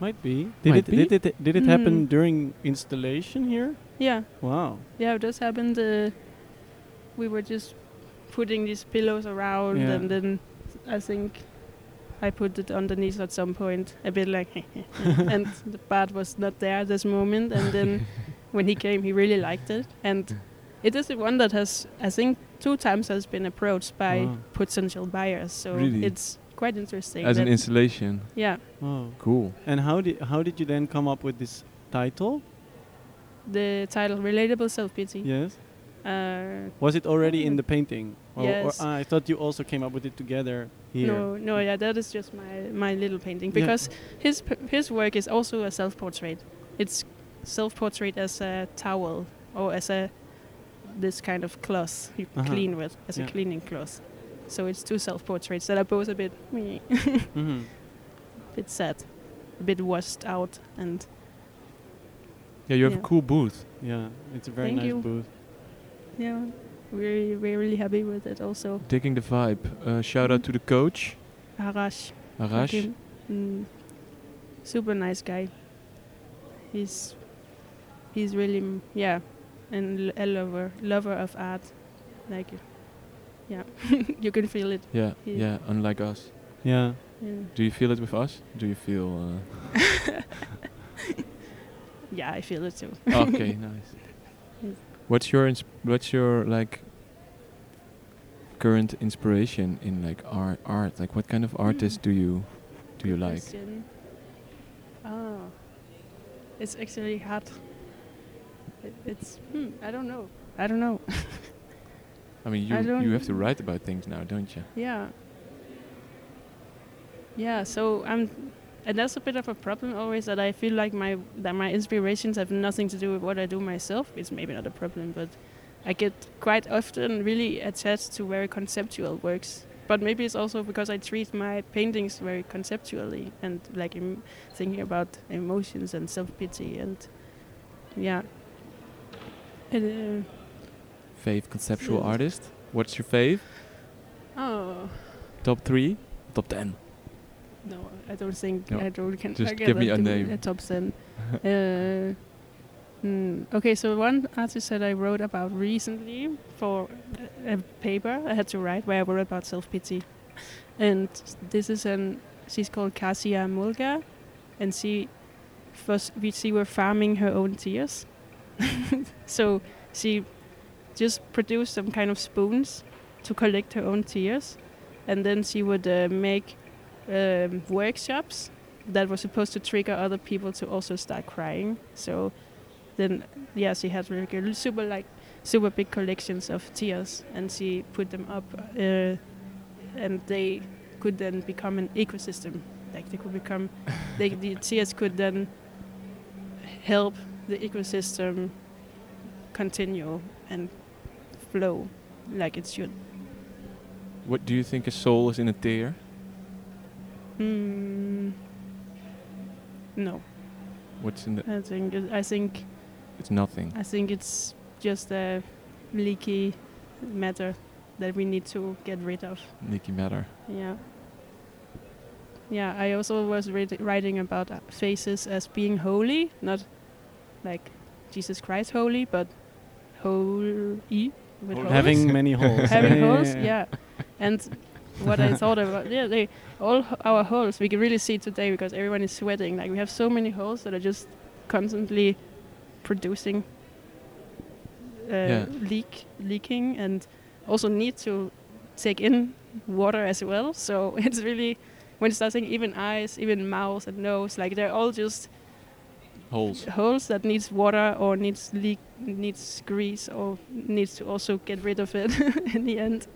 Speaker 2: Might be. Did
Speaker 3: Might
Speaker 2: it
Speaker 3: be.
Speaker 2: did it did it happen
Speaker 1: Mm.
Speaker 2: during installation here?
Speaker 1: Yeah,
Speaker 2: Wow.
Speaker 1: Yeah, it just happened. Uh, we were just putting these pillows around,
Speaker 2: Yeah.
Speaker 1: and then I think I put it underneath at some point, a bit like, and the bat was not there at this moment. And then when he came, he really liked it, and it is the one that has, I think, two times has been approached by
Speaker 2: Wow.
Speaker 1: potential buyers. So
Speaker 3: Really?
Speaker 1: it's quite interesting.
Speaker 3: As an
Speaker 1: that-
Speaker 3: installation.
Speaker 1: yeah,
Speaker 2: Wow.
Speaker 3: Cool.
Speaker 2: And how did how did you then come up with this title?
Speaker 1: the title "Relatable Self Pity."
Speaker 2: Yes.
Speaker 1: Uh,
Speaker 2: Was it already in
Speaker 1: Mm.
Speaker 2: the painting? Or,
Speaker 1: Yes.
Speaker 2: or ah, I thought you also came up with it together here.
Speaker 1: No, no, yeah, that is just my my little painting
Speaker 2: Yeah.
Speaker 1: because his p- his work is also a self portrait. It's self portrait as a towel or as a this kind of cloth you
Speaker 2: Uh-huh.
Speaker 1: clean with as
Speaker 2: Yeah.
Speaker 1: a cleaning cloth. So it's two self portraits that are both a bit, meh,
Speaker 2: hmm
Speaker 1: bit sad, a bit washed out, and
Speaker 3: Yeah, you have
Speaker 1: Yeah.
Speaker 3: a cool booth.
Speaker 2: Yeah, it's a very
Speaker 1: Thank
Speaker 2: nice
Speaker 1: you.
Speaker 2: booth.
Speaker 1: yeah, we're we're really happy with it. Also,
Speaker 3: Taking the vibe. Uh, shout out
Speaker 1: Mm-hmm.
Speaker 3: to the coach,
Speaker 1: Harash,
Speaker 3: Arash.
Speaker 1: Hakim, mm, super nice guy. He's he's really mm, yeah, and a lover lover of art, like yeah, you can feel it.
Speaker 3: Yeah,
Speaker 1: Yeah.
Speaker 3: yeah, unlike us.
Speaker 2: Yeah.
Speaker 1: Yeah.
Speaker 3: Do you feel it with us? Do you feel. uh,
Speaker 1: Yeah, I feel it too.
Speaker 3: Uh, okay, nice.
Speaker 1: Yes.
Speaker 3: What's your, ins- what's your, like, current inspiration in, like, art? art? Like, what kind of
Speaker 1: Mm.
Speaker 3: artists do you do you like?
Speaker 1: Question. Ah, it's actually hard. It, it's hmm, I don't know. I don't know.
Speaker 3: I mean, you,
Speaker 1: I don't-
Speaker 3: you have to write about things now, don't you?
Speaker 1: Yeah. Yeah, so I'm and that's a bit of a problem always that I feel like my that my inspirations have nothing to do with what I do myself. It's maybe not a problem, but I get quite often really attached to very conceptual works. But maybe it's also because I treat my paintings very conceptually and like Im- thinking about emotions and self pity and yeah. And,
Speaker 3: Fave conceptual
Speaker 1: Yes.
Speaker 3: artist? What's your fave?
Speaker 1: uh, oh
Speaker 3: Top three? Top ten?
Speaker 1: No, I don't think
Speaker 3: No.
Speaker 1: I don't can
Speaker 3: Just
Speaker 1: I
Speaker 3: give me
Speaker 1: that
Speaker 3: a
Speaker 1: to
Speaker 3: name.
Speaker 1: A top ten. uh, hmm, okay, so one artist that I wrote about recently for a, a paper I had to write where I wrote about self pity, and this is an she's called Kasia Mulga, and she was we she were farming her own tears, so she just produced some kind of spoons to collect her own tears, and then she would uh, make um, workshops that were supposed to trigger other people to also start crying. So then, yeah, she had like a super like super big collections of tears, and she put them up, uh, and they could then become an ecosystem. Like they could become, they, the tears could then help the ecosystem continue and flow like it should.
Speaker 3: What do you think a soul is in a tear?
Speaker 1: Hmm. No,
Speaker 3: What's in the.
Speaker 1: I think it- I think
Speaker 3: It's nothing.
Speaker 1: I think it's just a leaky matter that we need to get rid of.
Speaker 3: Nicky Matter.
Speaker 1: Yeah. Yeah, I also was read- writing about uh, faces as being holy, not like Jesus Christ holy, but holy with
Speaker 3: Holy.
Speaker 1: holes.
Speaker 2: Having many holes.
Speaker 1: having holes, yeah. And what I thought about, yeah, they, all h- our holes we can really see today because everyone is sweating. Like we have so many holes that are just constantly producing uh,
Speaker 3: Yeah.
Speaker 1: leak, leaking, and also need to take in water as well. So it's really when you start saying even eyes, even mouth and nose, like they're all just
Speaker 3: Holes.
Speaker 1: holes that needs water or needs leak needs grease or needs to also get rid of it in the end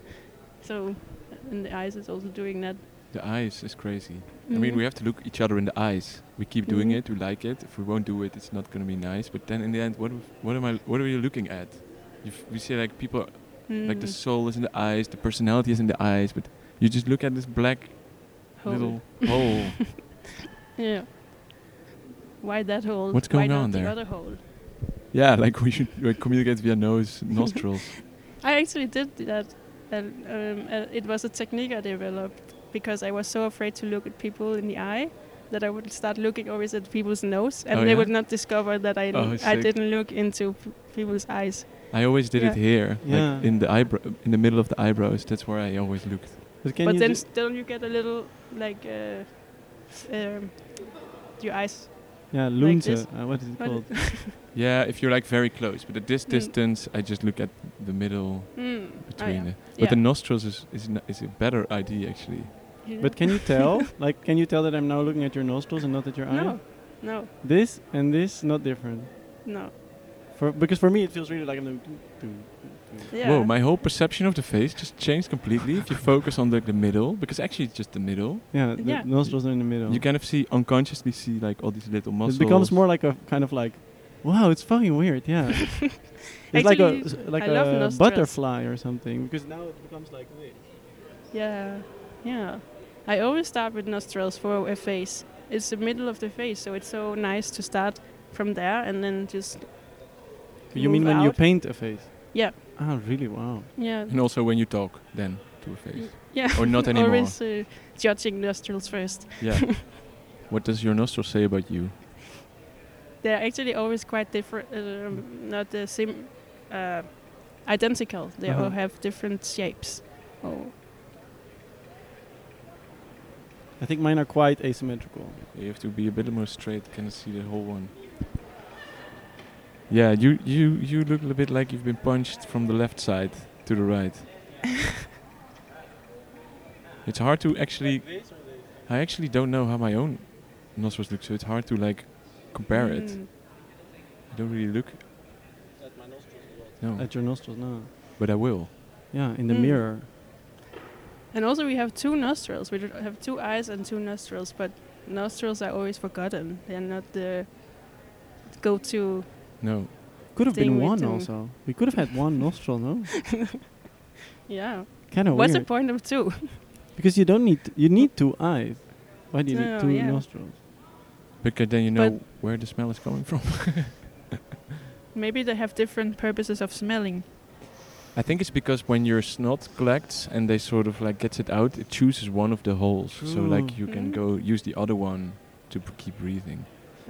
Speaker 1: so and the ice is also doing that
Speaker 3: The eyes is crazy. I
Speaker 1: Mm-hmm.
Speaker 3: mean, we have to look each other in the eyes. We keep doing
Speaker 1: Mhm.
Speaker 3: it. We like it. If we won't do it, it's not gonna be nice. But then in the end, what w- what am I? What are you looking at? You f- we see like people
Speaker 1: Mm-hmm.
Speaker 3: like the soul is in the eyes, the personality is in the eyes, but you just look at this black little hole.
Speaker 1: yeah why that hole
Speaker 3: What's
Speaker 1: why
Speaker 3: going
Speaker 1: not
Speaker 3: on
Speaker 1: the
Speaker 3: there?
Speaker 1: other hole
Speaker 3: yeah, like we should like, communicate via nose, nostrils.
Speaker 1: i actually did that and um, uh, it was a technique i developed because i was so afraid to look at people in the eye that I would start looking always at people's nose, and
Speaker 3: Oh,
Speaker 1: they
Speaker 3: yeah?
Speaker 1: would not discover that I
Speaker 3: Oh,
Speaker 1: I
Speaker 3: sick.
Speaker 1: didn't look into p- people's eyes.
Speaker 3: I always did it
Speaker 1: Yeah.
Speaker 3: here,
Speaker 2: Yeah.
Speaker 3: like in the eyebrow, in the middle of the eyebrows. That's where I always looked.
Speaker 2: But can
Speaker 1: but
Speaker 2: you
Speaker 1: then
Speaker 2: just-
Speaker 1: still you get a little like uh, s- um, your eyes.
Speaker 2: yeah,
Speaker 1: like
Speaker 2: Lunze.
Speaker 1: this.
Speaker 2: uh, what is it
Speaker 1: What
Speaker 2: called?
Speaker 3: Yeah, if you're like very close, but at this
Speaker 1: Mm.
Speaker 3: distance, I just look at the middle
Speaker 1: Mm. Oh,
Speaker 3: between.
Speaker 1: yeah.
Speaker 3: it. But the
Speaker 1: Yeah.
Speaker 3: nostrils is is, n- is a better idea actually.
Speaker 1: Yeah.
Speaker 2: But can you tell? like, can you tell that I'm now looking at your nostrils and not at your eye?
Speaker 1: no, no,
Speaker 2: This and this not different.
Speaker 1: no.
Speaker 2: For because for me it feels really like I'm doing. doo- doo- doo- doo.
Speaker 1: Yeah.
Speaker 3: Whoa, my whole perception of the face just changed completely. if you focus on like the middle, because actually it's just the middle,
Speaker 2: Yeah, the
Speaker 1: Yeah.
Speaker 2: nostrils are in the middle.
Speaker 3: you kind of see unconsciously see like all these little muscles.
Speaker 2: it becomes more like a kind of like Wow, it's fucking weird. Yeah, it's like a
Speaker 1: Actually,
Speaker 2: s- like
Speaker 1: I love
Speaker 2: a
Speaker 1: nostrils.
Speaker 2: butterfly or something because now it becomes like this.
Speaker 1: Yeah, yeah. I always start with nostrils for a face. It's the middle of the face, so it's so nice to start from there and then just
Speaker 2: You
Speaker 1: Move
Speaker 2: mean when you
Speaker 1: out.
Speaker 2: paint a face?
Speaker 1: Yeah.
Speaker 2: Ah, really? Wow.
Speaker 1: yeah.
Speaker 3: And also when you talk, then to a face.
Speaker 1: Yeah.
Speaker 3: Or not anymore.
Speaker 1: Always uh, judging nostrils first.
Speaker 3: Yeah. what does your nostril say about you?
Speaker 1: They're actually always quite different. Um, not the same. Uh, identical. They
Speaker 2: Uh-huh.
Speaker 1: all have different shapes. Oh.
Speaker 2: I think mine are quite asymmetrical.
Speaker 3: You have to be a bit more straight, can see the whole one. Yeah, you you you look a bit like you've been punched from the left side to the right. it's hard to actually. I actually don't know how my own nostrils look, so it's hard to like compare it.
Speaker 1: Mm.
Speaker 3: I don't really look. No,
Speaker 2: At your nostrils, no.
Speaker 3: but I will.
Speaker 2: Yeah, in the
Speaker 1: Mm.
Speaker 2: mirror.
Speaker 1: And also, we have two nostrils. We don't have two eyes and two nostrils, but nostrils are always forgotten. They're not the go-to.
Speaker 3: No,
Speaker 2: Could have
Speaker 1: Thing
Speaker 2: been
Speaker 1: we
Speaker 2: one
Speaker 1: do.
Speaker 2: also. We could have had one nostril, no?
Speaker 1: Yeah.
Speaker 2: Kind of
Speaker 1: What's
Speaker 2: Oh, weird.
Speaker 1: the point of two?
Speaker 2: Because you don't need you need two eyes. Why do you
Speaker 1: No,
Speaker 2: need two
Speaker 1: Oh, yeah.
Speaker 2: nostrils?
Speaker 3: because then you know where the smell is coming from.
Speaker 1: Maybe they have different purposes of smelling.
Speaker 3: I think it's because when your snot collects and they sort of like gets it out, it chooses one of the holes, so like
Speaker 2: True.
Speaker 3: you can
Speaker 1: Mhm.
Speaker 3: go use the other one to p- keep breathing.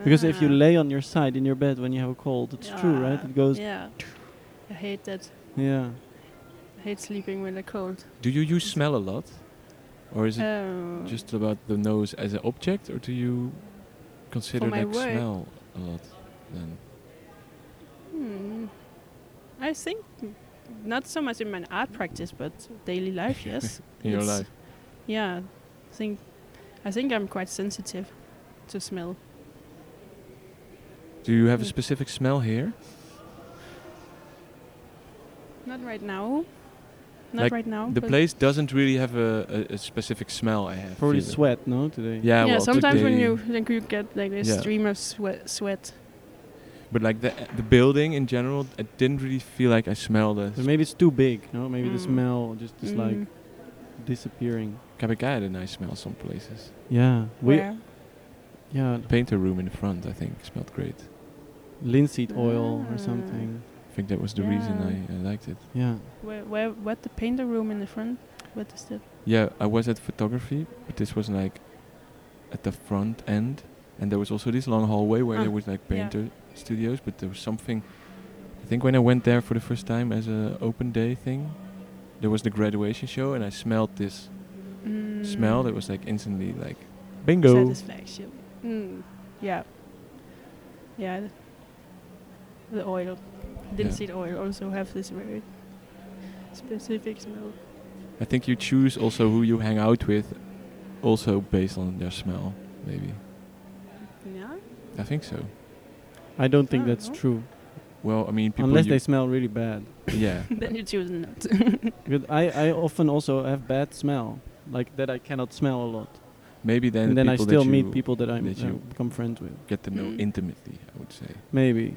Speaker 2: Because if you
Speaker 1: Ah.
Speaker 2: lay on your side in your bed when you have a cold, it's true, right?
Speaker 1: Yeah.
Speaker 2: It goes. Yeah.
Speaker 1: Yeah. I hate that. I hate sleeping when I'm cold.
Speaker 3: Do you use smell a lot, or is it
Speaker 1: Oh.
Speaker 3: just about the nose as an object, or do you consider
Speaker 1: my
Speaker 3: like
Speaker 1: work.
Speaker 3: smell a lot? Then
Speaker 1: Hmm. I think not so much in my art practice, but daily life, yes.
Speaker 3: in your
Speaker 1: It's-
Speaker 3: life,
Speaker 1: Yeah, I think I think I'm quite sensitive to smell.
Speaker 3: do you have a
Speaker 1: Mm.
Speaker 3: specific smell here?
Speaker 1: Not right now. Not
Speaker 3: Like
Speaker 1: right now.
Speaker 3: The
Speaker 1: but
Speaker 3: place doesn't really have a, a, a specific smell. I have
Speaker 2: Probably
Speaker 3: feeling.
Speaker 2: sweat, no? Today.
Speaker 3: Yeah,
Speaker 1: Yeah,
Speaker 3: well,
Speaker 1: sometimes when
Speaker 3: today-
Speaker 1: you like you get like a
Speaker 3: Yeah.
Speaker 1: stream of sweat, sweat.
Speaker 3: but like the the building in general, I didn't really feel like I smelled a
Speaker 2: But maybe it's too big, no? Maybe the
Speaker 1: Mm.
Speaker 2: smell just is
Speaker 1: Mm.
Speaker 2: like disappearing.
Speaker 3: Kabeka had a nice smell some places.
Speaker 2: Yeah. We
Speaker 1: Where?
Speaker 2: yeah,
Speaker 3: The painter room in the front, I think, smelled great.
Speaker 2: linseed oil
Speaker 1: Ah.
Speaker 2: or something.
Speaker 3: I think that was the reason I, I liked it.
Speaker 2: Yeah.
Speaker 1: Where, where, what the painter room in the front? What is that?
Speaker 3: Yeah, I was at photography, but this was like at the front end, and there was also this long hallway where
Speaker 1: Ah,
Speaker 3: there was like
Speaker 1: yeah.
Speaker 3: painter studios, but there was something. I think when I went there for the first time as a open day thing, there was the graduation show, and I smelled this
Speaker 1: Mm.
Speaker 3: smell that was like instantly like, bingo.
Speaker 1: Satisfaction. Mm. Yeah. Yeah. th- The oil, linseed oil, also have this very specific smell.
Speaker 3: I think you choose also who you hang out with, also based on their smell, maybe.
Speaker 1: Yeah.
Speaker 3: I think so.
Speaker 2: I don't think
Speaker 1: Ah,
Speaker 2: that's
Speaker 1: no.
Speaker 2: true.
Speaker 3: Well, I mean, people.
Speaker 2: Unless
Speaker 3: you-
Speaker 2: they smell really bad.
Speaker 3: yeah.
Speaker 1: then you choose not.
Speaker 2: Because I, I often also have bad smell, like that I cannot smell a lot.
Speaker 3: Maybe then.
Speaker 2: And
Speaker 3: the
Speaker 2: then I
Speaker 3: people
Speaker 2: still
Speaker 3: that
Speaker 2: meet
Speaker 3: you
Speaker 2: people that I
Speaker 3: that you-
Speaker 2: become friends with.
Speaker 3: Get to know
Speaker 1: Mm. Mm-hmm.
Speaker 3: intimately. I would say
Speaker 2: Maybe.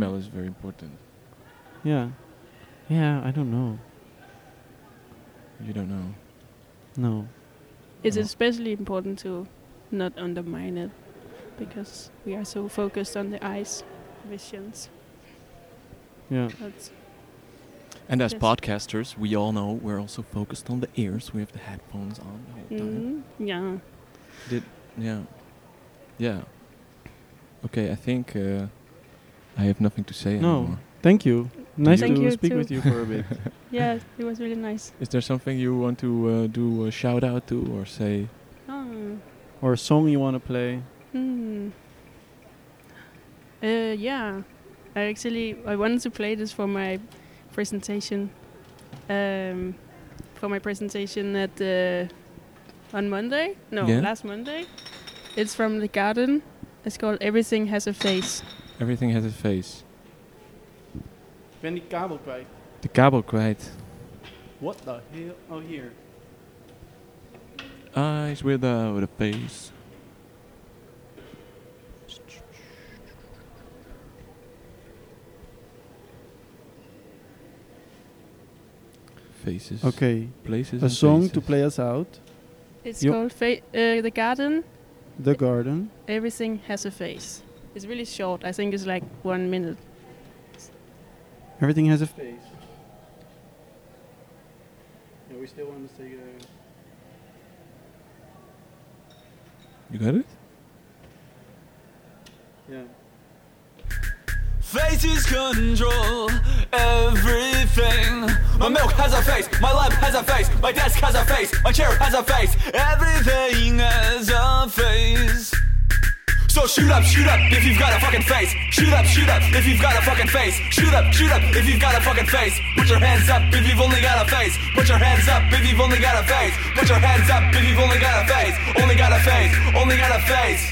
Speaker 3: smell is very important.
Speaker 2: Yeah. Yeah, I don't know.
Speaker 3: You don't know.
Speaker 2: No.
Speaker 1: It's
Speaker 3: Oh.
Speaker 1: especially important to not undermine it because we are so focused on the eyes visions.
Speaker 2: Yeah.
Speaker 1: That's
Speaker 3: And as
Speaker 1: Yes.
Speaker 3: podcasters, we all know we're also focused on the ears. We have the headphones on the whole time.
Speaker 1: mm, yeah.
Speaker 3: Yeah. Yeah. Okay, I think uh, I have nothing to say
Speaker 2: No.
Speaker 3: anymore.
Speaker 2: Thank you. Nice
Speaker 1: Thank
Speaker 2: to
Speaker 1: you
Speaker 2: speak
Speaker 1: too.
Speaker 2: with you for a bit.
Speaker 1: Yeah, it was really nice.
Speaker 3: Is there something you want to uh, do a shout out to or say?
Speaker 1: Oh.
Speaker 2: or a song you want to play.
Speaker 1: Hmm. Uh, yeah, I actually I wanted to play this for my presentation. Um, for my presentation at uh, on Monday. No,
Speaker 3: Yeah.
Speaker 1: last Monday. It's from the garden. It's called Everything Has a Face.
Speaker 3: Everything has a face.
Speaker 2: Ik ben die kabel kwijt.
Speaker 3: The kabel kwijt.
Speaker 2: What the hell? Oh, here.
Speaker 3: Eyes without a face. faces.
Speaker 2: Okay,
Speaker 3: Places.
Speaker 2: a
Speaker 3: and
Speaker 2: song to
Speaker 3: faces.
Speaker 2: play us out.
Speaker 1: It's
Speaker 2: Yep.
Speaker 1: called fa- uh, The Garden.
Speaker 2: The garden.
Speaker 1: Everything has a face. It's really short. I think it's like one minute.
Speaker 2: Everything has a face. Yeah, we still want to say. Uh,
Speaker 3: You got it?
Speaker 2: yeah.
Speaker 4: Faces control everything. My milk has a face, my lamp has a face, my desk has a face, my chair has a face. Everything has a face. So shoot up, shoot up if you've got a fucking face. Shoot up, shoot up if you've got a fucking face. Shoot up, shoot up if you've got a fucking face. Put your hands up if you've only got a face. Put your hands up if you've only got a face. Put your hands up if you've only got a face. Only got a face, only got a face.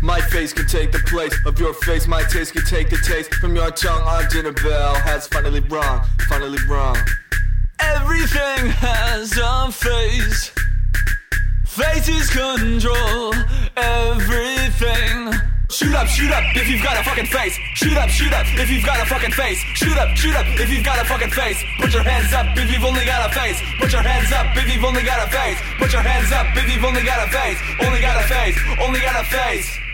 Speaker 4: My face can take the place of your face. My taste can take the taste from your tongue. Our dinner bell has finally rung, finally rung. Everything has a face. Faces control everything. Shoot up, shoot up if you've got a fucking face. Shoot up, shoot up if you've got a fucking face. Shoot up, shoot up if you've got a fucking face. Put your hands up if you've only got a face. Put your hands up if you've only got a face. Put your hands up if you've only got a face. Only got a face, only got a face.